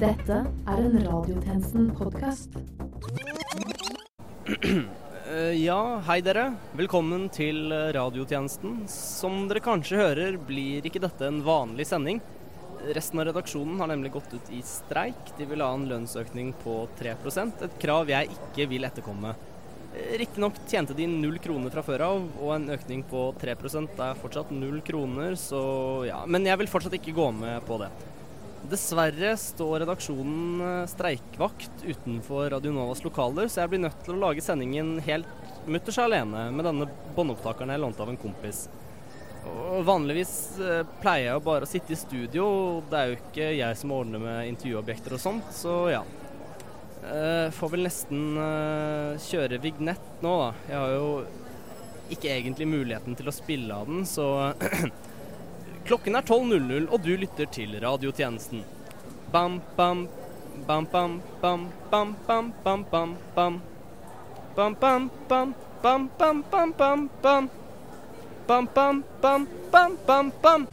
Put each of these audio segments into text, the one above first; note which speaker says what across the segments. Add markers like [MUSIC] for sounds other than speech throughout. Speaker 1: Dette er en Radiotjenesten-podkast.
Speaker 2: Eh, Ja, hei dere. Velkommen til eh, radiotjenesten. Som dere kanskje hører, blir ikke dette en vanlig sending. Resten av redaksjonen har nemlig gått ut i streik. De vil ha en lønnsøkning på 3 et krav jeg ikke vil etterkomme. Eh, Riktignok tjente de null kroner fra før av, og en økning på 3 er fortsatt null kroner, så ja. Men jeg vil fortsatt ikke gå med på det. Dessverre står redaksjonen eh, streikvakt utenfor Radionovas lokaler, så jeg blir nødt til å lage sendingen helt mutters alene med denne båndopptakeren jeg lånte av en kompis. Og vanligvis eh, pleier jeg jo bare å sitte i studio, og det er jo ikke jeg som ordner med intervjuobjekter og sånt, så ja. Eh, får vel nesten eh, kjøre vignett nå, da. Jeg har jo ikke egentlig muligheten til å spille av den, så Klokken er 12.00, og du lytter til radiotjenesten. Bam, bam, bam, bam, bam, bam, bam, bam, bam, bam. Bam, bam, bam, bam, bam, bam, bam, bam. Bam, bam, bam, bam, bam, bam.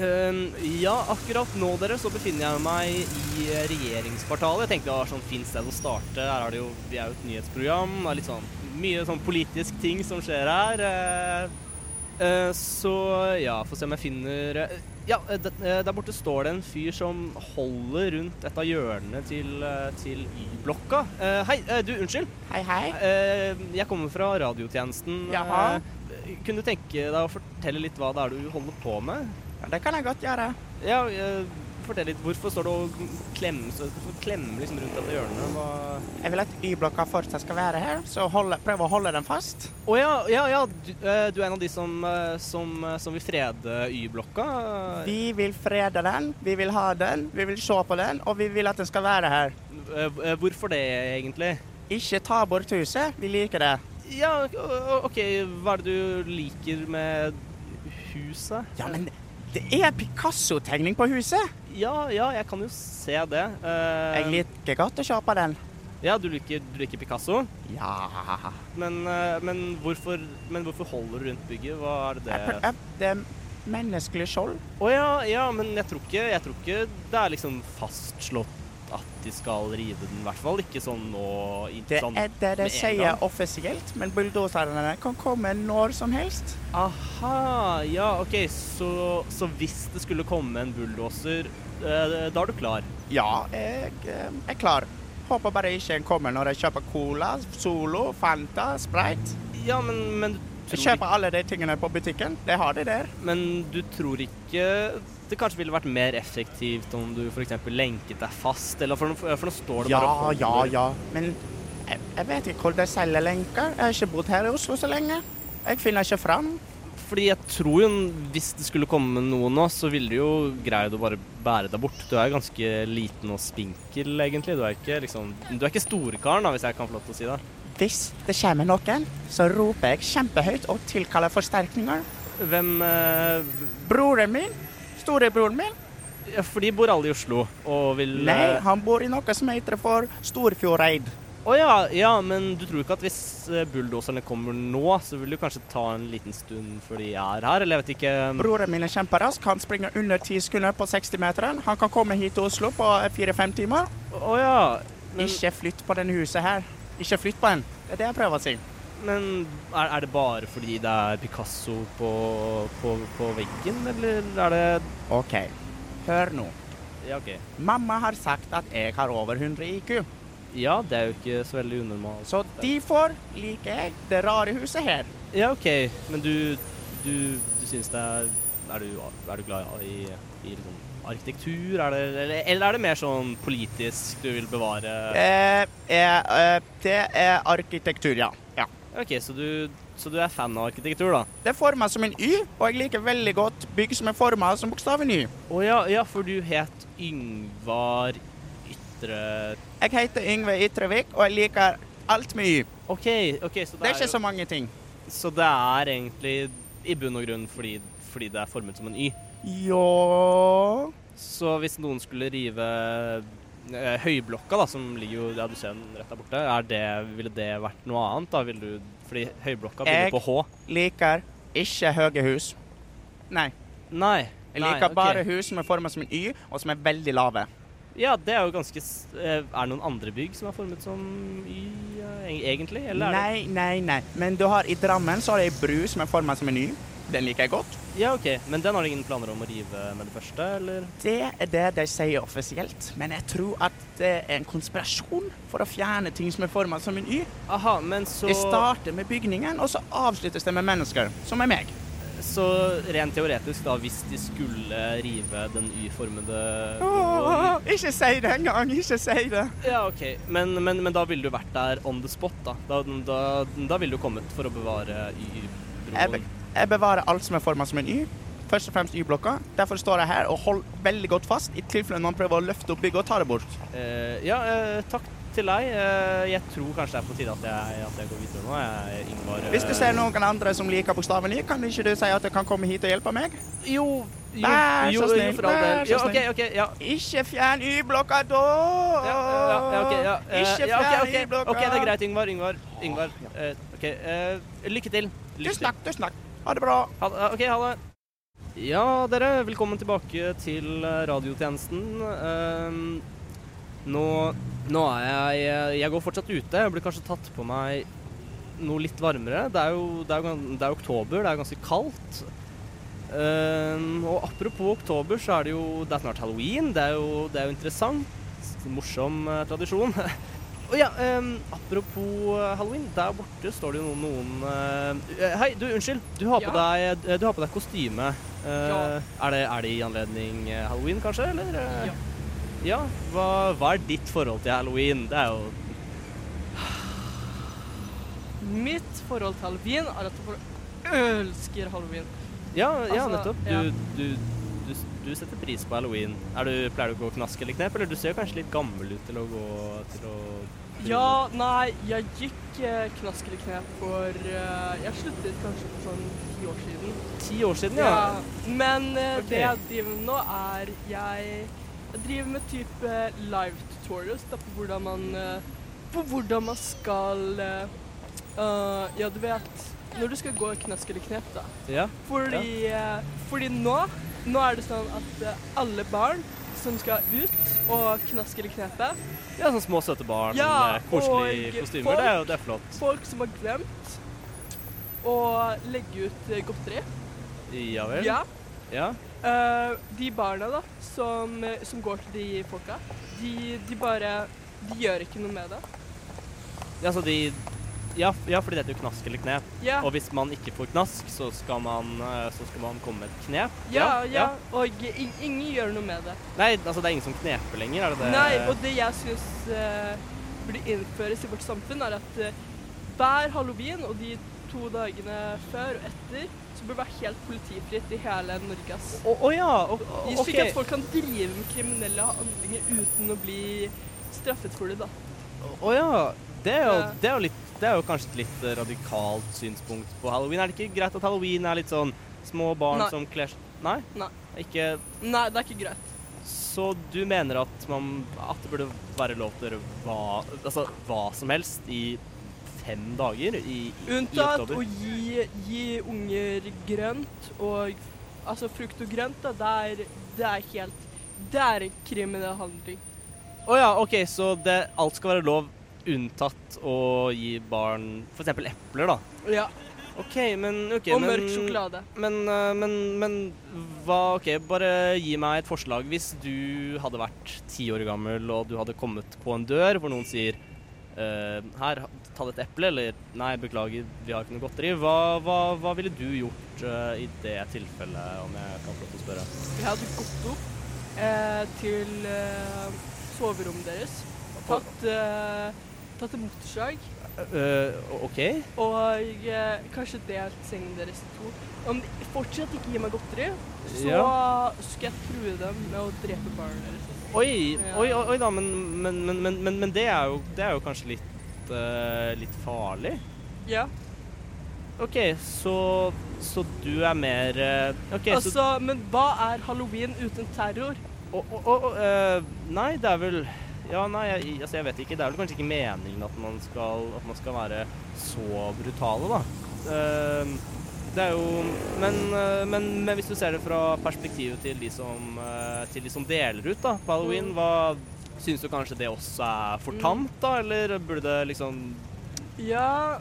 Speaker 2: Ehm, ja, akkurat nå dere så befinner jeg meg i regjeringskvartalet. Jeg tenkte det var sånn fint sted å starte. Her er det jo, vi er jo et nyhetsprogram. Det er litt sånn mye sånn politisk ting som skjer her. Eh, Eh, Så ja, få se om jeg finner eh, Ja, eh, det- eh, der borte står det en fyr som holder rundt et av hjørnene til, eh, til Y-blokka. Eh, Hei, eh, du, unnskyld.
Speaker 3: Hei, hei.
Speaker 2: Eh, Jeg kommer fra radiotjenesten.
Speaker 3: Jaha.
Speaker 2: Eh, Kunne du tenke deg å fortelle litt hva det er du holder på med?
Speaker 3: Ja, det kan jeg godt gjøre.
Speaker 2: Ja, eh, fortell litt. Hvorfor står du og klemmer, så- hvorfor klemmer liksom rundt dette hjørnet? Hva
Speaker 3: Jeg vil at Y-blokka fortsatt skal være her, så holde, prøv å holde den fast.
Speaker 2: Å ja, ja, ja. Du, eh, du er en av de som, eh, som, eh, som vil frede Y-blokka?
Speaker 3: Vi vil frede den, vi vil ha den, vi vil se på den, og vi vil at den skal være her.
Speaker 2: Eh, eh, Hvorfor det, egentlig?
Speaker 3: Ikke ta bort huset, vi liker det.
Speaker 2: Ja, o- OK, hva er det du liker med huset?
Speaker 3: Ja, men det er Picasso-tegning på huset.
Speaker 2: Ja, ja, jeg kan jo se det. Eh,
Speaker 3: Jeg liker godt å se på den.
Speaker 2: Ja, du liker, du liker Picasso,
Speaker 3: Ja.
Speaker 2: men, eh, men, hvorfor, men hvorfor holder du rundt bygget? Hva er det
Speaker 3: Jeg
Speaker 2: det [LAUGHS]
Speaker 3: pr- jeg- Det er menneskelig skjold.
Speaker 2: Å ja, ja, men jeg tror, ikke, jeg tror ikke det er liksom fastslått at de skal rive den, i hvert fall. Ikke sånn nå i
Speaker 3: Det
Speaker 2: sånn
Speaker 3: er det
Speaker 2: med en
Speaker 3: de sier
Speaker 2: gang.
Speaker 3: offisielt, men bulldoserne kan komme når som helst.
Speaker 2: Aha, ja, OK, så, så hvis det skulle komme en bulldoser, eh, da er du klar?
Speaker 3: Ja, jeg eh, er klar. Håper bare ikke en kommer når jeg kjøper cola, Solo, Fanta, Sprite.
Speaker 2: Ja, men, men du
Speaker 3: Jeg
Speaker 2: tror
Speaker 3: kjøper alle de tingene på butikken. De har de der.
Speaker 2: Men du tror ikke det kanskje ville vært mer effektivt om du f.eks. lenket deg fast? Eller for, nå- for nå står det
Speaker 3: Ja,
Speaker 2: bare og holder.
Speaker 3: ja, ja. Men jeg, jeg vet ikke hvor de selger lenker. Jeg har ikke bodd her i Oslo så lenge. Jeg finner ikke fram.
Speaker 2: Fordi jeg tror jo hvis det skulle komme noe nå, så ville du jo greid å bare bære deg bort. Du er jo ganske liten og spinkel, egentlig. Du er ikke liksom Du er ikke storekaren, da, hvis jeg kan få lov til å si det.
Speaker 3: Hvis det kommer noen, så roper jeg kjempehøyt og tilkaller forsterkninger.
Speaker 2: Hvem eh,
Speaker 3: Broren min, storebroren min,
Speaker 2: ja, For de bor alle i Oslo og vil
Speaker 3: nei,
Speaker 2: eh,
Speaker 3: han bor i noe som heter for Storfjordeid.
Speaker 2: Å ja, ja, men du tror ikke at hvis eh, bulldoserne kommer nå, så vil det kanskje ta en liten stund før de er her? Eller jeg vet ikke
Speaker 3: Broren min er kjemperask. Han springer under 10 sekunder på 60-meteren. Han kan komme hit til Oslo på fire-fem timer.
Speaker 2: Å ja. Men,
Speaker 3: Ikke flytt på denne huset her. Ikke flytt på den. Det er det jeg prøver å si.
Speaker 2: men er, er det bare fordi det er Picasso på, på, på veggen, eller er det
Speaker 3: OK, hør nå.
Speaker 2: Ja, OK.
Speaker 3: Mamma har sagt at jeg har over 100 IQ,
Speaker 2: Ja, det er jo ikke så veldig unormalt.
Speaker 3: så de får, liker jeg, det rare huset her.
Speaker 2: Ja, OK. Men du, du, du syns det er er du, er du glad i, i liksom arkitektur? Er det, eller, eller er det mer sånn politisk du vil bevare?
Speaker 3: Eh, eh, eh, det er arkitektur, ja. ja.
Speaker 2: OK, så du, så du er fan av arkitektur, da?
Speaker 3: Det er forma som en Y, og jeg liker veldig godt bygg som er forma som bokstaven Y.
Speaker 2: Å ja, ja, for du het Yngvar Ytre...
Speaker 3: Jeg heter Yngve Ytrevik, og jeg liker alt med Y.
Speaker 2: OK, ok, så det,
Speaker 3: Det er ikke
Speaker 2: jo-
Speaker 3: så mange ting.
Speaker 2: Så det er egentlig i bunn og grunn fordi, fordi det er formet som en Y.
Speaker 3: Ja
Speaker 2: Så hvis noen skulle rive eh, Høyblokka, da, som ligger jo Ja, du ser den rett der borte. Er det, ville det vært noe annet, da? Ville du, fordi Høyblokka
Speaker 3: Jeg-
Speaker 2: begynner på H.
Speaker 3: Liker ikke høye hus. Nei.
Speaker 2: Nei.
Speaker 3: Jeg
Speaker 2: nei,
Speaker 3: liker
Speaker 2: ok.
Speaker 3: bare hus som er forma som en Y, og som er veldig lave.
Speaker 2: Ja, det er jo ganske s- eh, Er det noen andre bygg som er formet som Y, eh, e- egentlig? Eller er
Speaker 3: Nei, nei, nei. Men du har i Drammen så har de ei bru som er forma som en Y. Den liker jeg godt.
Speaker 2: det Ja, OK. Men den har de ingen planer om å rive med det første, eller?
Speaker 3: Det er det de sier offisielt, men jeg tror at det er en konspirasjon for å fjerne ting som er forma som en Y.
Speaker 2: Aha, men så
Speaker 3: Det starter med bygningen, og så avsluttes det med mennesker, som er meg.
Speaker 2: Så rent teoretisk, da, hvis de skulle rive den
Speaker 3: [LAUGHS]
Speaker 2: Y-formede
Speaker 3: Åh, ikke si det engang! Ikke si det.
Speaker 2: Ja, OK. Men, men, men da ville du vært der on the spot, da. Da, da, da ville du kommet for å bevare
Speaker 3: Jeg, be
Speaker 2: Y-broen.
Speaker 3: jeg bevarer alt som er forma som en Y. Først og fremst Y-blokka. Derfor står jeg her og holder veldig godt fast i tilfelle noen prøver å løfte opp bygget og ta det bort.
Speaker 2: Eh, ja, eh, takk til deg. Eh, jeg tror kanskje det er på tide at jeg, at jeg går videre nå. Jeg, Ingvar eh,
Speaker 3: Hvis du ser noen andre som liker bokstaven Y, kan ikke du si at du kan komme hit og hjelpe meg?
Speaker 2: Jo, jo,
Speaker 3: Vær så
Speaker 2: jo, jo,
Speaker 3: snill,
Speaker 2: for all
Speaker 3: vær
Speaker 2: del.
Speaker 3: så
Speaker 2: Ja, OK,
Speaker 3: snill.
Speaker 2: OK. Ja.
Speaker 3: Ikke fjern Y-blokka da!
Speaker 2: Ja, ja, ja, ok, ja. eh,
Speaker 3: Ikke fjern
Speaker 2: ja, ok, ok.
Speaker 3: Y-blokka!
Speaker 2: OK, det er greit, Yngvar. Yngvar. Yngvar.
Speaker 3: Ja.
Speaker 2: eh, ok, eh, lykke til. Lykke
Speaker 3: Tusen
Speaker 2: til.
Speaker 3: takk, tusen takk. Ha det bra.
Speaker 2: Ha, det- OK, ha det. Ja, dere. Velkommen tilbake til eh, radiotjenesten. Ehm, nå, nå er jeg Jeg går fortsatt ute. Jeg blir kanskje tatt på meg noe litt varmere. Det er jo, det er jo, gan- det er jo oktober, det er ganske kaldt. Ehm, og apropos oktober, så er det jo Det er snart halloween. Det er jo, det er jo interessant. Morsom eh, tradisjon. [LAUGHS] Og ja, ehm, apropos eh, halloween. Der borte står det jo noen, noen eh, Hei, du, unnskyld. Du har på deg, eh, du har på deg kostyme. Eh,
Speaker 4: Ja.
Speaker 2: er, det, er det i anledning eh, halloween, kanskje? Eller? eh?
Speaker 4: Ja.
Speaker 2: ja. Hva, hva er ditt forhold til halloween? Det er jo
Speaker 4: Mitt forhold til halloween er at jeg elsker halloween.
Speaker 2: Ja, ja
Speaker 4: Altså,
Speaker 2: nettopp. Du,
Speaker 4: ja.
Speaker 2: Du, du, du setter pris på halloween. Er du, pleier du å gå knask eller knep? Eller du ser kanskje litt gammel ut til å gå til å
Speaker 4: Ja, nei, jeg gikk eh, knask eller knep for eh, Jeg sluttet kanskje for sånn ti år siden.
Speaker 2: Ti år siden, ja.
Speaker 4: Men eh,
Speaker 2: Ok.
Speaker 4: det jeg driver med nå, er jeg, jeg driver med type live tutorials da, på hvordan man eh, På hvordan man skal eh, eh, Ja, du vet Når du skal gå knask eller knep, da.
Speaker 2: ja.
Speaker 4: Fordi, eh, fordi nå, nå er det sånn at eh, alle barn som skal ut og knaske eller knepe,
Speaker 2: Ja, sånn små søte barn,
Speaker 4: Ja,
Speaker 2: eh, koselige
Speaker 4: og
Speaker 2: kostymer.
Speaker 4: folk-
Speaker 2: Det er jo det er flott.
Speaker 4: folk som har glemt å legge ut eh, godteri,
Speaker 2: Ja vel.
Speaker 4: ja,
Speaker 2: Ja.
Speaker 4: eh, de barna da, som, eh, som går til de folka, de, de bare, de gjør ikke noe med det.
Speaker 2: Ja, så de ja, f- ja, fordi det heter jo knask eller knep.
Speaker 4: Ja,
Speaker 2: Og hvis man ikke får knask, så skal man, eh, så skal man komme med et knep.
Speaker 4: ja, ja, og in ingen gjør noe med det.
Speaker 2: Nei, altså det er ingen som kneper lenger, er det det?
Speaker 4: Nei, og det jeg syns burde innføres i vårt samfunn, er at eh, hver halloween og de to dagene før og etter, så burde det være helt politifritt i hele Norge. ass.
Speaker 2: Å å ja, og, og-
Speaker 4: Slik at
Speaker 2: ok.
Speaker 4: folk kan drive med kriminelle handlinger uten å bli straffet for det, da.
Speaker 2: Å ja, det er, jo,
Speaker 4: Ja.
Speaker 2: det, er jo litt, det er jo kanskje et litt eh, radikalt synspunkt på halloween. Er det ikke greit at halloween er litt sånn små barn
Speaker 4: Nei.
Speaker 2: som kler seg Nei?
Speaker 4: Nei.
Speaker 2: Ikke
Speaker 4: Nei, det er ikke greit.
Speaker 2: Så du mener at, man, at det burde være lov til å gjøre hva, altså, hva som helst i fem dager i, i, i
Speaker 4: Unntatt
Speaker 2: oktober?
Speaker 4: å gi, gi unger grønt og Altså frukt og grønt, da. Det er, det er helt Det er en kriminell handling.
Speaker 2: Å ja, OK, så det, alt skal være lov unntatt å gi barn f.eks. epler, da.
Speaker 4: Ja.
Speaker 2: OK, men ok,
Speaker 4: og
Speaker 2: men,
Speaker 4: mørk sjokolade.
Speaker 2: Men, eh, men, men hva OK, bare gi meg et forslag. Hvis du hadde vært ti år gammel og du hadde kommet på en dør hvor noen sier eh, her, ta dette eplet, eller nei, beklager, vi har ikke noe godteri. Hva, hva, hva ville du gjort eh, i det tilfellet, om jeg kan få lov til å spørre?
Speaker 4: Jeg hadde gått opp eh, til eh, soverommet deres, tatt, eh, tatt en motorsag
Speaker 2: Eh, OK?
Speaker 4: og eh, kanskje delt sengen deres i to. Om de fortsatt ikke gir meg godteri, så skal jeg true dem med å drepe barna deres.
Speaker 2: Oi,
Speaker 4: Ja.
Speaker 2: oi, oi, oi da, men, men, men, men, men, men det, er jo, det er jo kanskje litt, eh, litt farlig?
Speaker 4: Ja.
Speaker 2: OK, så, så du er mer eh, OK, så
Speaker 4: altså, men hva er halloween uten terror?
Speaker 2: Å, å, å, å, eh, nei, det er vel Ja, nei, jeg, altså, jeg vet ikke. Det er vel kanskje ikke meningen at man skal, at man skal være så brutale, da. Eh, det er jo men, eh, men, men hvis du ser det fra perspektivet til de som, eh, til de som deler ut da, på halloween,
Speaker 4: Mm.
Speaker 2: hva, Syns du kanskje det også er for tamt, da, eller burde det liksom
Speaker 4: Ja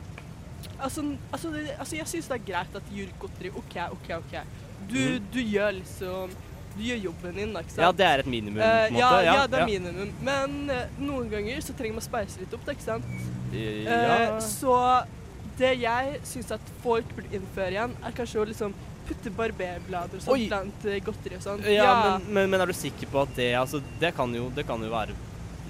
Speaker 4: Altså, altså, det, altså jeg syns det er greit at de gir ut godteri. OK, OK, OK. Du,
Speaker 2: Mm.
Speaker 4: du gjør liksom Du gjør jobben din, da, ikke sant?
Speaker 2: Ja, det er et minimum, på
Speaker 4: Eh,
Speaker 2: en måte.
Speaker 4: ja, ja, det er minimum. Men eh, noen ganger så trenger man å speise litt opp, da, ikke sant? Eh,
Speaker 2: Ja.
Speaker 4: så det jeg syns at folk burde innføre igjen, er kanskje å liksom putte barberblader og sånt
Speaker 2: Oi.
Speaker 4: blant eh, godteri og sånn.
Speaker 2: Ja, Men, men, men er du sikker på at det Altså, det kan jo, det kan jo være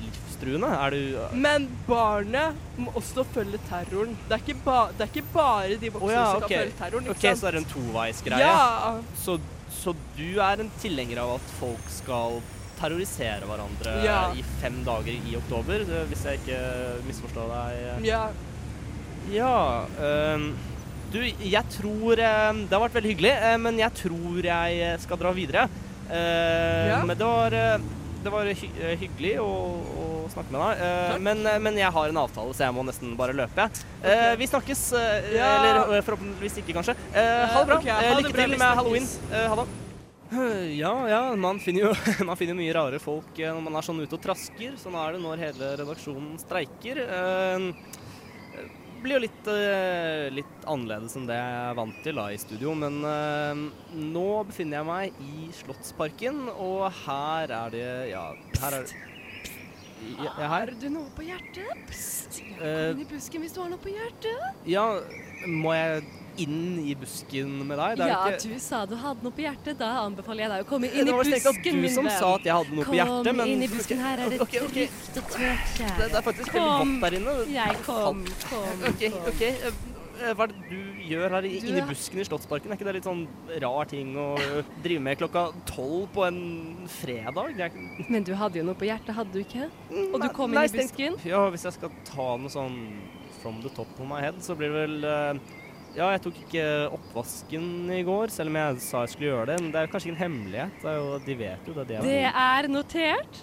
Speaker 2: livstruende. Er du
Speaker 4: Men barnet må også følge terroren. Det er ikke, ba det er ikke bare de voksne
Speaker 2: Å ja,
Speaker 4: som
Speaker 2: ok.
Speaker 4: kan følge terroren.
Speaker 2: OK,
Speaker 4: Ikke sant?
Speaker 2: så er det en toveisgreie.
Speaker 4: Ja.
Speaker 2: Så, så du er en tilhenger av at folk skal terrorisere hverandre
Speaker 4: Ja.
Speaker 2: i fem dager i oktober, eh, hvis jeg ikke misforstår deg? eh?
Speaker 4: ja.
Speaker 2: Ja ehm, Du, jeg tror eh, Det har vært veldig hyggelig, eh, men jeg tror jeg eh, skal dra videre. Eh,
Speaker 4: Ja.
Speaker 2: Men det var, eh, det var hy eh, hyggelig å, å snakke med deg. eh,
Speaker 4: Takk.
Speaker 2: men, eh, men jeg har en avtale, så jeg må nesten bare løpe. jeg.
Speaker 4: Ok.
Speaker 2: Eh, vi snakkes. eh,
Speaker 4: Ja.
Speaker 2: Eller eh, forhåpentligvis ikke, kanskje. Eh, ha det bra.
Speaker 4: Eh, ok,
Speaker 2: Eh,
Speaker 4: ha det
Speaker 2: Lykke
Speaker 4: bra,
Speaker 2: til
Speaker 4: vi
Speaker 2: med
Speaker 4: snakkes.
Speaker 2: halloween. Eh, ha det. Eh, Ja, ja, man finner jo [LAUGHS] man finner mye rare folk eh, når man er sånn ute og trasker. Sånn er det når hele redaksjonen streiker. Eh, blir jo litt, eh, litt annerledes enn det jeg er vant til da i studio, men eh, nå befinner jeg meg i Slottsparken, og her er det Ja, her er det ja, ja, her?
Speaker 5: Har du noe på hjertet? Pst! Ja,
Speaker 2: Eh.
Speaker 5: Kom inn i busken hvis du har noe på hjertet.
Speaker 2: Ja, må jeg inn i busken med deg?
Speaker 5: Ja,
Speaker 2: jo
Speaker 5: du sa du hadde noe på hjertet. Da anbefaler jeg deg å komme inn
Speaker 2: Det
Speaker 5: i
Speaker 2: var vel sikkert
Speaker 5: busken,
Speaker 2: du
Speaker 5: min
Speaker 2: som
Speaker 5: venn.
Speaker 2: sa at jeg hadde noe på hjertet, men
Speaker 5: Kom inn i busken, her er det
Speaker 2: [LAUGHS] Ok, ok.
Speaker 5: trygt og tørt,
Speaker 2: Det, det
Speaker 5: kjære.
Speaker 2: er faktisk veldig
Speaker 5: Kom.
Speaker 2: vått der inne.
Speaker 5: Jeg kom, kom,
Speaker 2: OK,
Speaker 5: kom.
Speaker 2: OK. eh, Hva er det du gjør her i-
Speaker 5: Du
Speaker 2: inni
Speaker 5: er-
Speaker 2: busken i Slottsparken? Er ikke det litt sånn rar ting å drive med klokka tolv på en fredag? Det er ikke-
Speaker 5: Men du hadde jo noe på hjertet, hadde du ikke? Og du kom inn
Speaker 2: Nei,
Speaker 5: i
Speaker 2: stengt.
Speaker 5: busken?
Speaker 2: Ja, hvis jeg skal ta noe sånn from the top of my head, så blir det vel eh, Ja, jeg tok ikke oppvasken i går, selv om jeg sa jeg skulle gjøre det. Men det er jo kanskje ikke en hemmelighet. Det er jo, de vet jo det. er
Speaker 5: Det er notert.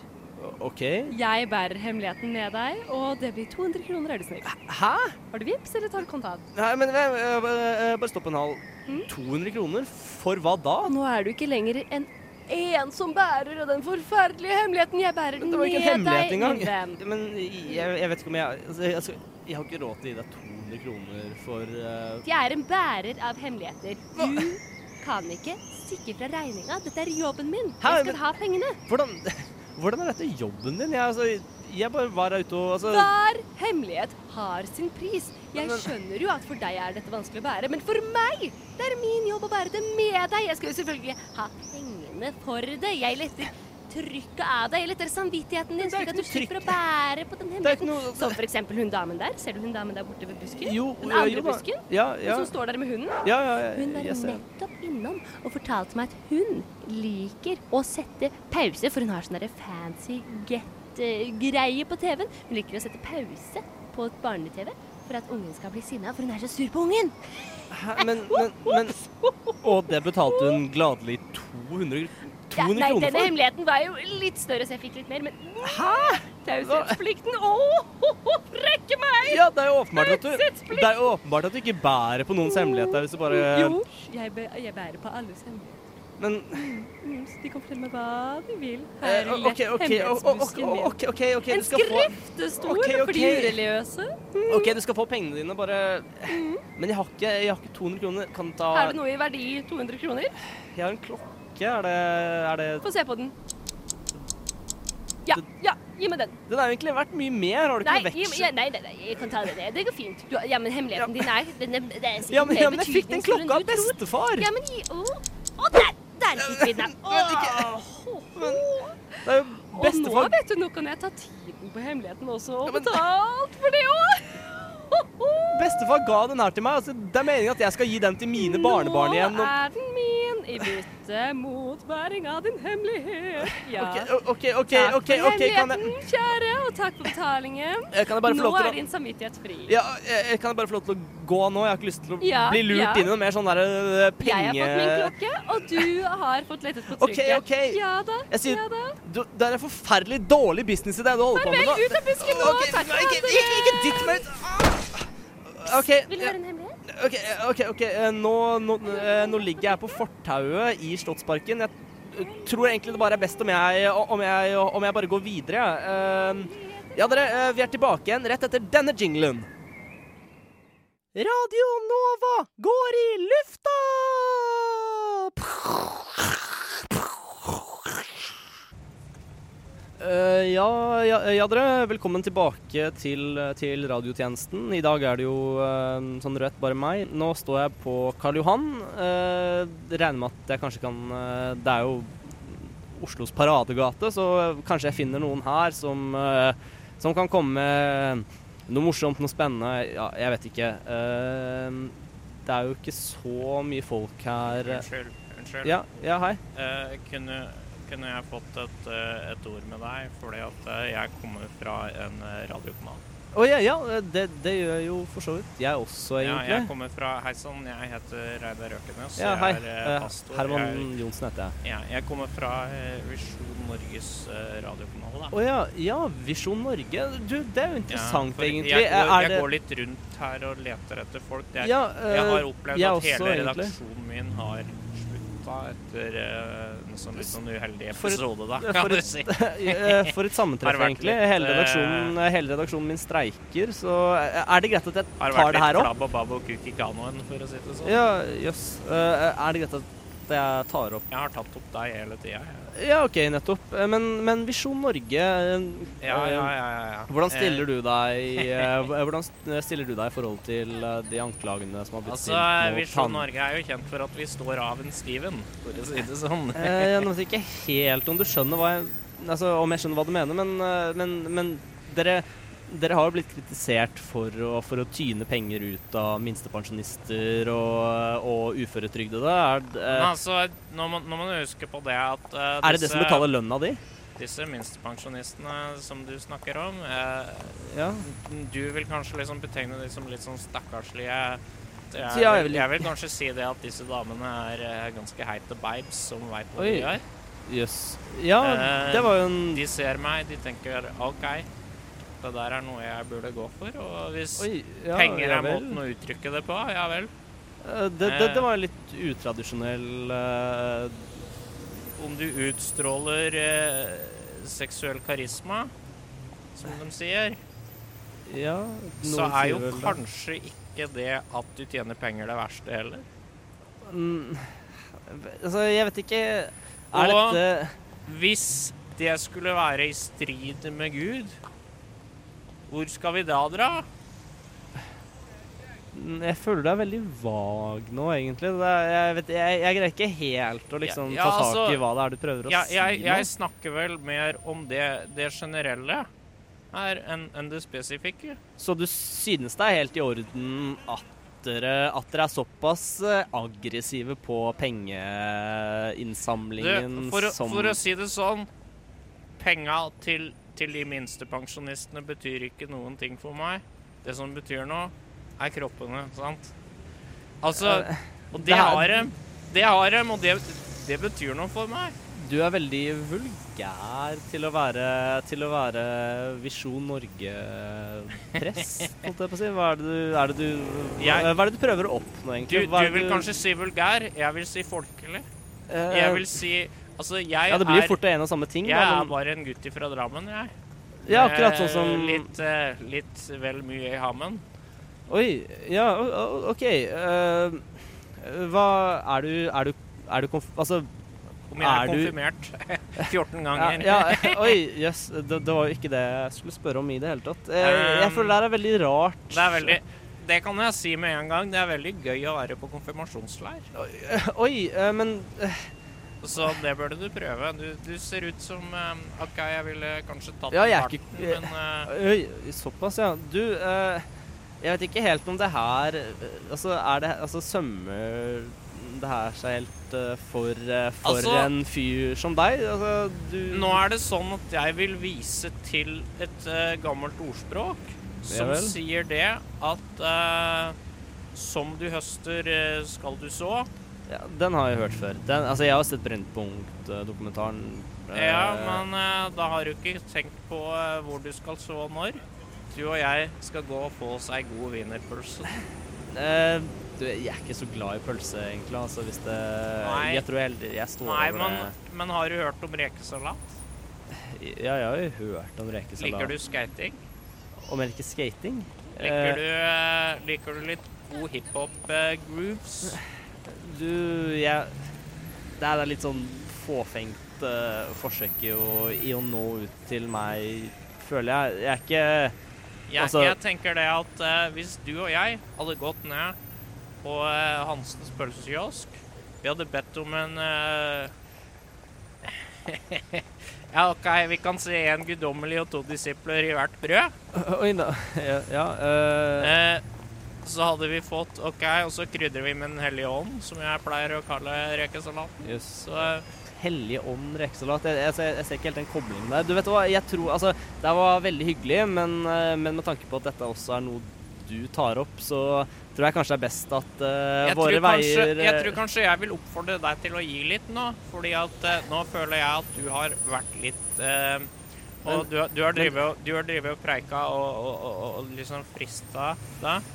Speaker 2: OK.
Speaker 5: Jeg bærer hemmeligheten med deg, og det blir 200 kroner, er du snill.
Speaker 2: Hæ?
Speaker 5: Har du vips, eller tar du kontant?
Speaker 2: Nei, men eh, eh, eh, bare stopp en halv.
Speaker 5: Mm?
Speaker 2: 200 kroner? For hva da?
Speaker 5: Og nå er du ikke lenger en ensom bærer av den forferdelige hemmeligheten. Jeg bærer den
Speaker 2: Det var
Speaker 5: med
Speaker 2: ikke en hemmelighet
Speaker 5: deg,
Speaker 2: engang.
Speaker 5: min venn.
Speaker 2: Men jeg, jeg vet ikke om jeg altså, jeg, altså, jeg har ikke råd til å gi deg 200 kroner for eh,
Speaker 5: Jeg er en bærer av hemmeligheter. Du kan ikke stikke fra regninga. Dette er jobben min.
Speaker 2: Hæ,
Speaker 5: Jeg
Speaker 2: men-
Speaker 5: skal ha pengene.
Speaker 2: hvordan, [LAUGHS] hvordan er dette jobben din? Jeg, altså, jeg bare var her ute og altså,
Speaker 5: Hver hemmelighet har sin pris. Jeg skjønner jo at for deg er dette vanskelig å bære, men for meg det er min jobb å bære det med deg. Jeg skal jo selvfølgelig ha pengene for det. Jeg letter trykket av deg. Jeg letter samvittigheten
Speaker 2: det
Speaker 5: din,
Speaker 2: er
Speaker 5: slik at
Speaker 2: ikke
Speaker 5: du
Speaker 2: noe trykk.
Speaker 5: slipper å bære på den
Speaker 2: Det er ikke
Speaker 5: hemmeligheten.
Speaker 2: noe
Speaker 5: Som for eksempel hun damen der. Ser du hun damen der borte ved busken?
Speaker 2: Jo,
Speaker 5: den
Speaker 2: ja,
Speaker 5: andre
Speaker 2: jo da.
Speaker 5: busken?
Speaker 2: Ja,
Speaker 5: Hun
Speaker 2: ja.
Speaker 5: som står der med hunden?
Speaker 2: ja, ja, ja
Speaker 5: Hun var
Speaker 2: jeg ser.
Speaker 5: nettopp innom og fortalte meg at hun liker å sette pause, for hun har sånn derre fancy get-greie på TV-en. Hun liker å sette pause på et barne-TV for at ungen skal bli sinna, for hun er så sur på ungen.
Speaker 2: Hæ, men, men, men Og det betalte hun gladelig 200, 200
Speaker 5: Ja, nei,
Speaker 2: kroner
Speaker 5: denne
Speaker 2: for?
Speaker 5: hemmeligheten var jo litt større, så jeg fikk litt mer, men taushetsplikten Å, rekke meg!
Speaker 2: Ja, det er jo åpenbart at du,
Speaker 5: Taushetsplikt!
Speaker 2: det er jo åpenbart at du ikke bærer på noens hemmeligheter hvis du bare
Speaker 5: Jo, jeg, bæ- jeg bærer på alles hemmeligheter.
Speaker 2: Men
Speaker 5: Mm, så de kan fortelle meg hva de vil.
Speaker 2: eh,
Speaker 5: Her
Speaker 2: OK, OK, OK, OK,
Speaker 5: hemmelighetsbusken min.
Speaker 2: OK, ok, ok,
Speaker 5: En
Speaker 2: du skal få
Speaker 5: skriftestol
Speaker 2: Ok, ok.
Speaker 5: for de ureligiøse.
Speaker 2: OK, du skal få pengene dine, bare Men jeg har ikke, jeg har ikke 200 kroner. Kan ta
Speaker 5: Er det noe i verdi 200 kroner?
Speaker 2: Jeg har en klokke. Er det, er det
Speaker 5: Få se på den. Ja, ja, gi meg den.
Speaker 2: Den er jo egentlig verdt mye mer. Har du
Speaker 5: Nei,
Speaker 2: ikke
Speaker 5: gi,
Speaker 2: veksel?
Speaker 5: ja, nei, nei, nei, jeg kan ta den. Det går fint. Du, ja, men hemmeligheten din er, den er, det er sikkert
Speaker 2: Ja, men,
Speaker 5: mer
Speaker 2: ja, men jeg fikk den
Speaker 5: betydningsfull enn
Speaker 2: klokka av
Speaker 5: du tror.
Speaker 2: bestefar.
Speaker 5: Ja, men gi Å, å, der! Der fikk vi den. Å, ho, ho.
Speaker 2: Det er jo
Speaker 5: Og nå,
Speaker 2: bestefar.
Speaker 5: vet du, nå kan jeg ta tiden på hemmeligheten også,
Speaker 2: Ja,
Speaker 5: og
Speaker 2: men-
Speaker 5: betalt for det òg.
Speaker 2: Bestefar ga den her til meg. Altså, det er meningen at jeg skal gi den til [LAUGHS] mine barnebarn igjen.
Speaker 5: Nå
Speaker 2: Og,
Speaker 5: er den min, i bytte mot bæring av din hemmelighet. Ja.
Speaker 2: OK, OK, OK,
Speaker 5: Takk
Speaker 2: Eh, OK,
Speaker 5: for
Speaker 2: ok, kan jeg,
Speaker 5: hemmeligheten, kjære, og takk for betalingen.
Speaker 2: eh, kan jeg bare få
Speaker 5: Nå
Speaker 2: lov til
Speaker 5: er
Speaker 2: å
Speaker 5: din samvittighet fri.
Speaker 2: ja, eh, Kan jeg bare få lov til å gå nå? Jeg har ikke lyst til å
Speaker 5: Ja,
Speaker 2: bli lurt
Speaker 5: ja.
Speaker 2: inn i noe mer sånn der eh, penge...
Speaker 5: Jeg har fått min klokke, og du har fått lettet på
Speaker 2: Ok,
Speaker 5: trykket.
Speaker 2: ok.
Speaker 5: Ja da.
Speaker 2: Jeg sier-
Speaker 5: ja da.
Speaker 2: Du, det er en forferdelig dårlig businessidé du holder på med.
Speaker 5: Farvel,
Speaker 2: nå.
Speaker 5: ut av busken nå.
Speaker 2: Ok,
Speaker 5: Takk for
Speaker 2: ikke,
Speaker 5: at dere-
Speaker 2: ikke, ikke dytt meg ut! Ah! OK,
Speaker 5: Vil du høre en hemmelighet?
Speaker 2: eh, ok, ok, ok, eh, Nå, nå, eh, nå ligger jeg på fortauet i Slottsparken. Jeg tror egentlig det bare er best om jeg, om jeg, om jeg bare går videre. jeg. Eh, ja, dere, eh, vi er tilbake igjen rett etter denne jinglen. Radio Nova går i lufta! Eh, ja, ja, ja, dere. Velkommen tilbake til, til radiotjenesten. I dag er det jo eh, sånn rødt bare meg. Nå står jeg på Karl Johan. Eh, regner med at jeg kanskje kan eh, Det er jo Oslos paradegate, så kanskje jeg finner noen her som, eh, som kan komme med noe morsomt, noe spennende. Ja, jeg vet ikke. Eh, det er jo ikke så mye folk her.
Speaker 6: Unnskyld. unnskyld.
Speaker 2: Ja, ja hei.
Speaker 6: Eh, kunne, kunne jeg fått et, eh, et ord med deg? Fordi at eh, jeg kommer fra en eh, radiokanal.
Speaker 2: Å ja, ja det, det gjør jeg jo for så vidt jeg også,
Speaker 6: Ja,
Speaker 2: egentlig.
Speaker 6: jeg kommer fra Hei sann, jeg heter Reidar Røkenes.
Speaker 2: Ja, hei.
Speaker 6: Jeg er eh,
Speaker 2: Eh,
Speaker 6: pastor. Jeg,
Speaker 2: Herman Johnsen heter jeg.
Speaker 6: er- ja, jeg kommer fra eh, Visjon Norges eh, radiokanal. da.
Speaker 2: Å ja, ja, Visjon Norge. Du, det er jo
Speaker 6: Ja,
Speaker 2: interessant,
Speaker 6: for
Speaker 2: egentlig.
Speaker 6: Jeg går,
Speaker 2: Er
Speaker 6: jeg
Speaker 2: det-
Speaker 6: går litt rundt her og leter etter folk. Jeg,
Speaker 2: ja,
Speaker 6: jeg
Speaker 2: eh,
Speaker 6: har opplevd
Speaker 2: jeg
Speaker 6: at hele
Speaker 2: også, egentlig. [LAUGHS]
Speaker 6: redaksjonen min har slutta etter eh, en sånn litt sånn uheldig
Speaker 2: For et-
Speaker 6: episode, da,
Speaker 2: for
Speaker 6: kan du
Speaker 2: et- [LAUGHS]
Speaker 6: si.
Speaker 2: Eh, For et
Speaker 6: Har
Speaker 2: sammentreff,
Speaker 6: vært
Speaker 2: egentlig.
Speaker 6: litt,
Speaker 2: Hele
Speaker 6: eh,
Speaker 2: redaksjonen, hele redaksjonen min streiker, så eh, er det greit at jeg
Speaker 6: Har det
Speaker 2: tar
Speaker 6: vært
Speaker 2: det her
Speaker 6: litt
Speaker 2: opp?
Speaker 6: klabb og babb og kuk i kanoen, for å si det sånn.
Speaker 2: Ja, jøss. Eh, Er det greit at jeg tar opp
Speaker 6: Jeg har tatt opp deg hele tida.
Speaker 2: Ja, OK, nettopp. Eh, Men, men Visjon Norge eh,
Speaker 6: Ja, ja, ja, ja, ja.
Speaker 2: Hvordan stiller du deg eh, Hvordan st- stiller du deg i forhold til eh, de anklagene som har blitt
Speaker 6: Altså, Visjon Norge er jo kjent for at vi står av en Steven, for å si det sånn.
Speaker 2: Eh, Jeg vet ikke helt om du skjønner hva jeg Altså, om jeg skjønner hva du mener, men, eh, men, men dere dere har jo blitt kritisert for å, for å tyne penger ut av minstepensjonister og, og uføretrygdede. Er, d-
Speaker 6: [LAUGHS] Men
Speaker 2: eh,
Speaker 6: altså, nå må, nå må du huske på det at eh,
Speaker 2: er det det som
Speaker 6: disse-
Speaker 2: betaler lønna di?
Speaker 6: Disse minstepensjonistene som du snakker om, eh,
Speaker 2: Ja.
Speaker 6: du vil kanskje liksom betegne dem som litt sånn stakkarslige Det er-
Speaker 2: Ja, jeg vil-
Speaker 6: jeg vil kanskje si det at disse damene er eh, ganske heite babes som veit hva de
Speaker 2: Oi.
Speaker 6: gjør.
Speaker 2: Jøss. Ja,
Speaker 6: Eh,
Speaker 2: det var jo en
Speaker 6: De ser meg, de tenker OK, det der er noe jeg burde gå for. Og hvis
Speaker 2: Oi, ja,
Speaker 6: penger
Speaker 2: ja
Speaker 6: er
Speaker 2: vel.
Speaker 6: måten å uttrykke det på, ja vel.
Speaker 2: Eh, Det, det, det var en litt utradisjonell eh,
Speaker 6: Om du utstråler eh, seksuell karisma, som de sier,
Speaker 2: Ja,
Speaker 6: så
Speaker 2: noen
Speaker 6: er
Speaker 2: sier
Speaker 6: jo
Speaker 2: vel det.
Speaker 6: kanskje ikke det at du tjener penger, det verste heller.
Speaker 2: Mm, Altså, jeg vet ikke Er
Speaker 6: Og-
Speaker 2: dette
Speaker 6: Hvis det skulle være i strid med Gud, hvor skal vi da dra?
Speaker 2: Mm, Jeg føler deg veldig vag nå, egentlig. Det er, jeg, vet, jeg, jeg greier ikke helt å liksom
Speaker 6: Ja, ja,
Speaker 2: ta tak
Speaker 6: altså,
Speaker 2: i hva det er du prøver å
Speaker 6: Jeg, jeg,
Speaker 2: si
Speaker 6: jeg
Speaker 2: nå.
Speaker 6: snakker vel mer om det, det generelle her enn enn det spesifikke.
Speaker 2: Så du synes det er helt i orden at dere, at dere er såpass eh, aggressive på pengeinnsamlingen
Speaker 6: Du, for, å-
Speaker 2: som
Speaker 6: for å si det sånn, penga til, til de minste pensjonistene betyr ikke noen ting for meg. Det som betyr noe, er kroppene, sant? Altså,
Speaker 2: Eh,
Speaker 6: og
Speaker 2: det
Speaker 6: det
Speaker 2: er-
Speaker 6: har dem, det har dem, og det, det betyr noe for meg.
Speaker 2: Du er veldig vulgær til å være, til å være Visjon Norge-press, holdt jeg på å si. Hva er det du, er det du, hva,
Speaker 6: Jeg-
Speaker 2: hva er det du prøver å oppnå,
Speaker 6: Du,
Speaker 2: egentlig? Hva
Speaker 6: du
Speaker 2: er det
Speaker 6: vil kanskje si vulgær, jeg vil si folkelig.
Speaker 2: eh,
Speaker 6: Jeg vil si Altså, jeg
Speaker 2: Ja, det blir
Speaker 6: er
Speaker 2: jo fort en og samme ting.
Speaker 6: Jeg
Speaker 2: da,
Speaker 6: er
Speaker 2: men-
Speaker 6: bare en gutt fra Drammen, jeg.
Speaker 2: Ja, akkurat
Speaker 6: Eh,
Speaker 2: sånn som
Speaker 6: Litt, eh, litt vel mye i hammen.
Speaker 2: Oi, ja, o- o- OK. eh, hva Er du Er du, er du konf... Altså
Speaker 6: Om jeg er,
Speaker 2: Er du-
Speaker 6: konfirmert [LAUGHS] 14
Speaker 2: ja,
Speaker 6: ganger.
Speaker 2: ja, Oi, jøss. det, det var jo ikke det jeg skulle spørre om i det hele tatt. Eh, jeg
Speaker 6: Um,
Speaker 2: føler det her er veldig rart.
Speaker 6: Det er veldig Det kan jeg si med en gang. Det er veldig gøy å være på konfirmasjonsleir.
Speaker 2: Oi, eh, men eh,
Speaker 6: Så det burde du prøve. Du, du ser ut som eh, OK, jeg ville kanskje tatt
Speaker 2: Ja, jeg er
Speaker 6: parten,
Speaker 2: ikke-
Speaker 6: men eh,
Speaker 2: Oi, såpass, ja. Du eh, Jeg vet ikke helt om det her eh, Altså, er det Altså, sømmer det her seg helt eh, for, eh, for
Speaker 6: Altså-
Speaker 2: en fyr som deg? Altså, du
Speaker 6: Nå er det sånn at jeg vil vise til et eh, gammelt ordspråk som
Speaker 2: vel.
Speaker 6: sier det at eh, som du høster, eh, skal du så.
Speaker 2: Ja, den har jeg hørt før. Den, altså, jeg har sett Brennpunkt-dokumentaren.
Speaker 6: Ja, men eh, da har du ikke tenkt på eh, hvor du skal så og når. Du og jeg skal gå og få oss ei god wienerpølse.
Speaker 2: eh, eh, du, jeg er ikke så glad i pølse, egentlig. Altså, hvis det
Speaker 6: Nei.
Speaker 2: Jeg tror jeg, heller- jeg står
Speaker 6: Nei,
Speaker 2: over
Speaker 6: men, men har du hørt om rekesalat?
Speaker 2: det. Ja, jeg har jo hørt om rekesalat.
Speaker 6: Liker du skating?
Speaker 2: Om jeg liker skating?
Speaker 6: Liker du, eh, liker du litt god eh, hiphop-grooves?
Speaker 2: Du, jeg Det her er litt sånn fåfengt eh, forsøk i å, i å nå ut til meg, føler jeg. Jeg er ikke
Speaker 6: Jeg,
Speaker 2: Altså-
Speaker 6: jeg tenker det at eh, hvis du og jeg hadde gått ned på eh, Hansens pølsekiosk Vi hadde bedt om en eh, [LAUGHS] Ja, OK, vi kan si én guddommelig og to disipler i hvert brød.
Speaker 2: Oi da. Ja, ja eh,
Speaker 6: Eh, så hadde vi fått OK, og så krydrer vi med Den hellige ånd, som jeg pleier å kalle rekesalaten.
Speaker 2: Jøss.
Speaker 6: Så eh,
Speaker 2: Hellig ånd rekesalat. Jeg, jeg, ser- jeg ser ikke helt den koblingen der. Du vet hva, jeg tror Altså, det her var veldig hyggelig, men, eh, men med tanke på at dette også er noe du tar opp, så tror jeg kanskje det er best at eh,
Speaker 6: jeg,
Speaker 2: våre
Speaker 6: tror kanskje,
Speaker 2: veier
Speaker 6: jeg tror
Speaker 2: eh,
Speaker 6: kanskje jeg vil oppfordre deg til å gi litt nå, fordi at eh, nå føler jeg at du har vært litt eh, Og du, du har drevet og- du har drevet og preika og, og, og, og, og liksom frista deg.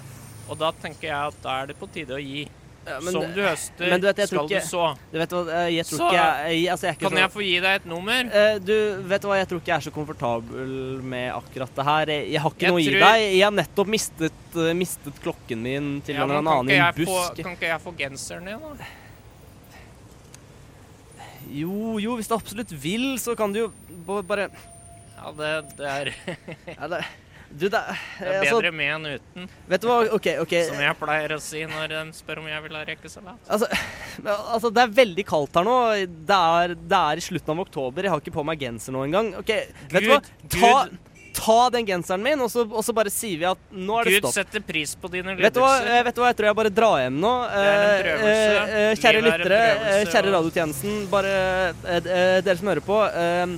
Speaker 6: Og da tenker jeg at da er det på tide å gi.
Speaker 2: ja, men-
Speaker 6: Som du høster,
Speaker 2: men du vet, jeg tror
Speaker 6: skal
Speaker 2: ikke-
Speaker 6: du så.
Speaker 2: Du vet hva, eh, jeg tror
Speaker 6: Så,
Speaker 2: ikke jeg, jeg, altså, jeg er ikke
Speaker 6: Kan
Speaker 2: så-
Speaker 6: jeg få gi deg et nummer?
Speaker 2: Eh, du, vet du hva, jeg tror ikke jeg er så komfortabel med akkurat det her. Jeg, jeg har ikke
Speaker 6: Jeg
Speaker 2: noe i
Speaker 6: tror-
Speaker 2: deg. Jeg har nettopp mistet, eh, mistet klokken min til
Speaker 6: Ja,
Speaker 2: en
Speaker 6: men
Speaker 2: eller
Speaker 6: kan
Speaker 2: annen i
Speaker 6: ikke
Speaker 2: en
Speaker 6: jeg få-
Speaker 2: busk.
Speaker 6: Kan ikke jeg få genseren din, da?
Speaker 2: Jo, jo, hvis du absolutt vil, så kan du jo ba- bare
Speaker 6: Ja, det, det, er,
Speaker 2: [LAUGHS]
Speaker 6: det
Speaker 2: ja, det, Du, det er
Speaker 6: er
Speaker 2: altså,
Speaker 6: bedre med enn uten,
Speaker 2: Vet du hva, OK, OK.
Speaker 6: som jeg pleier å si når de spør om jeg vil ha rekesalat.
Speaker 2: Altså, [LAUGHS] men altså, det er veldig kaldt her nå. Det er, det er i slutten av oktober. Jeg har ikke på meg genser nå engang. OK, vet du hva?
Speaker 6: Gud,
Speaker 2: Ta,
Speaker 6: Gud.
Speaker 2: ta den genseren min, og så, og så bare sier vi at nå er det
Speaker 6: Gud
Speaker 2: stopp.
Speaker 6: setter pris på dine
Speaker 2: Vet du, hva, eh,
Speaker 6: lidelser.
Speaker 2: vet du hva, jeg tror jeg bare drar hjem nå.
Speaker 6: er en
Speaker 2: Eh,
Speaker 6: prøvelse.
Speaker 2: eh, eh, Kjære
Speaker 6: Livet er en
Speaker 2: lyttere, eh,
Speaker 6: prøvelse,
Speaker 2: kjære
Speaker 6: og-
Speaker 2: radiotjenesten, bare eh, eh, dere som hører på. eh,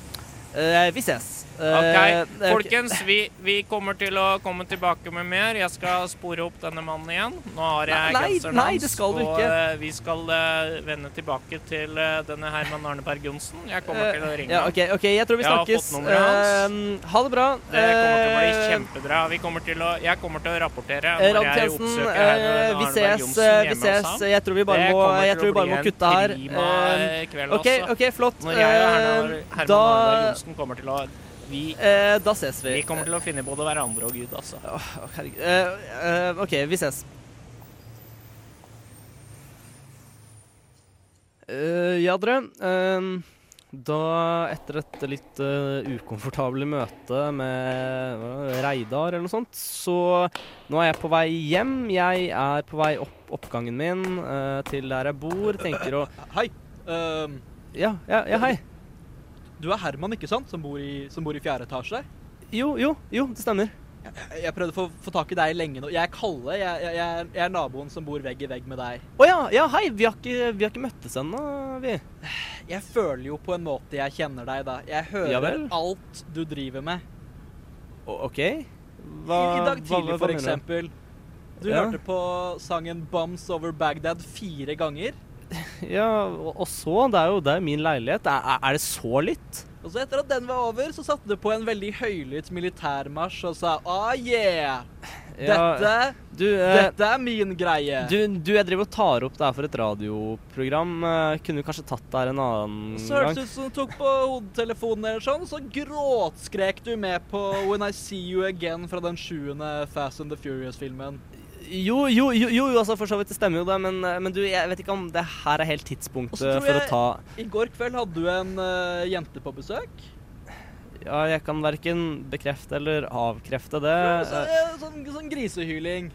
Speaker 2: eh, vi ses. Eh,
Speaker 6: Ok,
Speaker 2: eh,
Speaker 6: folkens, vi, vi kommer til å komme tilbake med mer. Jeg skal spore opp denne mannen igjen. Nå har
Speaker 2: Nei,
Speaker 6: jeg
Speaker 2: nei,
Speaker 6: genseren
Speaker 2: nei,
Speaker 6: hans,
Speaker 2: det skal du
Speaker 6: og
Speaker 2: ikke.
Speaker 6: eh, vi skal eh, vende tilbake til eh, denne Herman Arneberg Johnsen. Jeg kommer
Speaker 2: eh,
Speaker 6: til å ringe
Speaker 2: ja,
Speaker 6: ham.
Speaker 2: ok, ok, jeg tror vi
Speaker 6: Jeg har
Speaker 2: snakkes.
Speaker 6: fått nummeret hans.
Speaker 2: Eh, ha det bra.
Speaker 6: Det kommer til å bli
Speaker 2: Eh,
Speaker 6: kjempebra. Vi kommer til å, jeg kommer til å rapportere
Speaker 2: eh,
Speaker 6: når jeg
Speaker 2: Radiotjenesten,
Speaker 6: oppsøker
Speaker 2: eh,
Speaker 6: Herman
Speaker 2: vi
Speaker 6: Arneberg
Speaker 2: ses.
Speaker 6: Johnsen
Speaker 2: eh, Vi
Speaker 6: hjemme hos
Speaker 2: ses.
Speaker 6: ham.
Speaker 2: Jeg tror vi bare
Speaker 6: Det
Speaker 2: må,
Speaker 6: kommer
Speaker 2: jeg
Speaker 6: til
Speaker 2: tror
Speaker 6: å
Speaker 2: vi bare
Speaker 6: bli
Speaker 2: må
Speaker 6: en
Speaker 2: kutte her.
Speaker 6: prima
Speaker 2: Eh,
Speaker 6: eh, kveld
Speaker 2: OK,
Speaker 6: også.
Speaker 2: ok, flott.
Speaker 6: Når jeg og Herman,
Speaker 2: Eh,
Speaker 6: Herman Arneberg
Speaker 2: da,
Speaker 6: Johnsen kommer til å vi,
Speaker 2: eh, da ses
Speaker 6: vi
Speaker 2: vi.
Speaker 6: kommer til å finne både hverandre og Gud, altså.
Speaker 2: Åh, herregud. Eh, eh, OK, vi ses. Eh, ja, dere. ehm, da, etter et litt eh, ukomfortable møte med hva, Reidar eller noe sånt, så nå er jeg på vei hjem. Jeg er på vei opp oppgangen min eh, til der jeg bor. Tenker å
Speaker 4: Hei. ehm,
Speaker 2: Ja, ja, ja hei.
Speaker 4: du er Herman, ikke sant? Som bor i, som bor i fjerde etasje?
Speaker 2: Jo, jo, jo, det stemmer.
Speaker 4: Jeg prøvde å få, få tak i deg lenge nå. Jeg er Kalle. Jeg, jeg, jeg, er- jeg er naboen som bor vegg i vegg med deg.
Speaker 2: Å ja, ja, hei. Vi har ikke, vi har ikke møttes ennå, vi.
Speaker 4: Jeg føler jo på en måte jeg kjenner deg, da. Jeg hører
Speaker 2: Ja vel?
Speaker 4: alt du driver med.
Speaker 2: O- OK.
Speaker 4: I, I dag tidlig, for
Speaker 2: mener du?
Speaker 4: eksempel. Du
Speaker 2: Ja.
Speaker 4: hørte på sangen 'Bums Over Bagdad' fire ganger.
Speaker 2: Ja, og og så, det er jo det er jo min leilighet. Er, er- er det så litt?
Speaker 4: Og så etter at den var over, så satte du på en veldig høylytt militærmarsj og sa 'Ah yeah! Dette,
Speaker 2: du, eh,
Speaker 4: dette er min greie'.
Speaker 2: du, du, jeg driver og tar opp det her for et radioprogram. Eh, Kunne du kanskje tatt det her en annen
Speaker 4: Så hørtes
Speaker 2: gang?
Speaker 4: det ut som du tok på hodetelefonen eller sånn, så gråtskrek du med på When I See You Again fra den sjuende Fast and the Furious-filmen.
Speaker 2: Jo, jo, jo, jo, jo, altså for så vidt, det stemmer jo det, men, eh, men du, jeg vet ikke om det her er helt
Speaker 4: Og
Speaker 2: tidspunktet
Speaker 4: så tror
Speaker 2: for å
Speaker 4: jeg-
Speaker 2: ta
Speaker 4: I går kveld hadde du en eh, jente på besøk.
Speaker 2: Ja, jeg kan verken bekrefte eller avkrefte det.
Speaker 4: Ja, Så,
Speaker 2: Eh,
Speaker 4: eh, sånn, sånn grisehyling.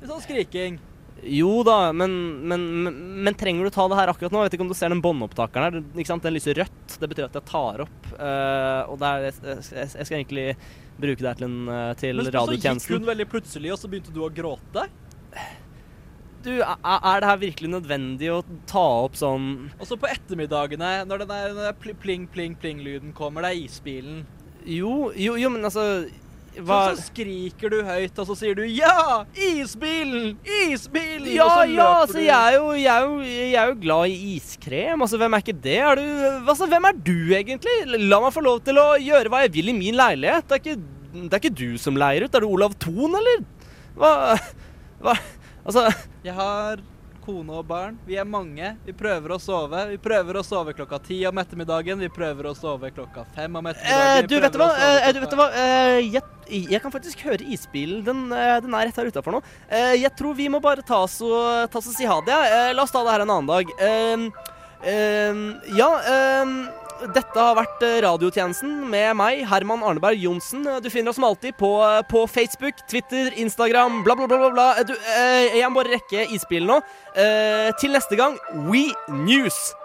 Speaker 4: Litt Sånn skriking.
Speaker 2: Jo da, men, men, men, men trenger du ta det her akkurat nå? Jeg vet ikke om du ser den båndopptakeren her. den- Ikke sant? Den lyser rødt. Det betyr at jeg tar opp. eh, og det er, jeg, jeg, jeg skal egentlig bruke det her til, en, eh, til
Speaker 4: Men så- så gikk
Speaker 2: radiotjenesten.
Speaker 4: hun veldig plutselig, og så begynte du å gråte.
Speaker 2: Du, er, er det her virkelig nødvendig å ta opp sånn
Speaker 4: Og så på ettermiddagene, når den der den der pl- pling-pling-pling-lyden kommer, det er isbilen.
Speaker 2: Jo, jo, jo, men altså
Speaker 4: Så,
Speaker 2: hva
Speaker 4: så skriker du høyt, og så sier du 'ja! Isbilen! Isbilen!' og
Speaker 2: ja, ja,
Speaker 4: så løper
Speaker 2: altså
Speaker 4: du.
Speaker 2: jeg er, jo, jeg, er jo, jeg er jo glad i iskrem. Altså, hvem er ikke det? Er du, altså, hvem er du egentlig? La meg få lov til å gjøre hva jeg vil i min leilighet. Det er ikke, det er ikke du som leier ut. Er du Olav Thon, eller? Hva, hva, Altså,
Speaker 7: Jeg har kone og barn. Vi er mange. Vi prøver å sove. Vi prøver å sove klokka ti om ettermiddagen. Vi prøver å sove klokka fem om
Speaker 2: eh,
Speaker 7: ettermiddagen.
Speaker 2: du,
Speaker 7: Vi
Speaker 2: vet du
Speaker 7: prøver
Speaker 2: hva?
Speaker 7: å sove
Speaker 2: Eh, du,
Speaker 7: klokka-
Speaker 2: vet du hva? Eh, jeg, jeg kan faktisk høre isbilen. Den, eh, den er rett her utafor nå. Eh, jeg tror vi må bare ta oss og ta oss og si ha det. Ja. Eh, la oss ta det her en annen dag. Eh, eh, ja, eh, dette har vært eh, radiotjenesten med meg, Herman Arneberg Johnsen. Eh, Du finner oss som alltid på, eh, på Facebook, Twitter, Instagram, bla, bla, bla. bla, bla. Eh, Du, eh, jeg må bare rekke isbilen nå. Eh, til neste gang, We News!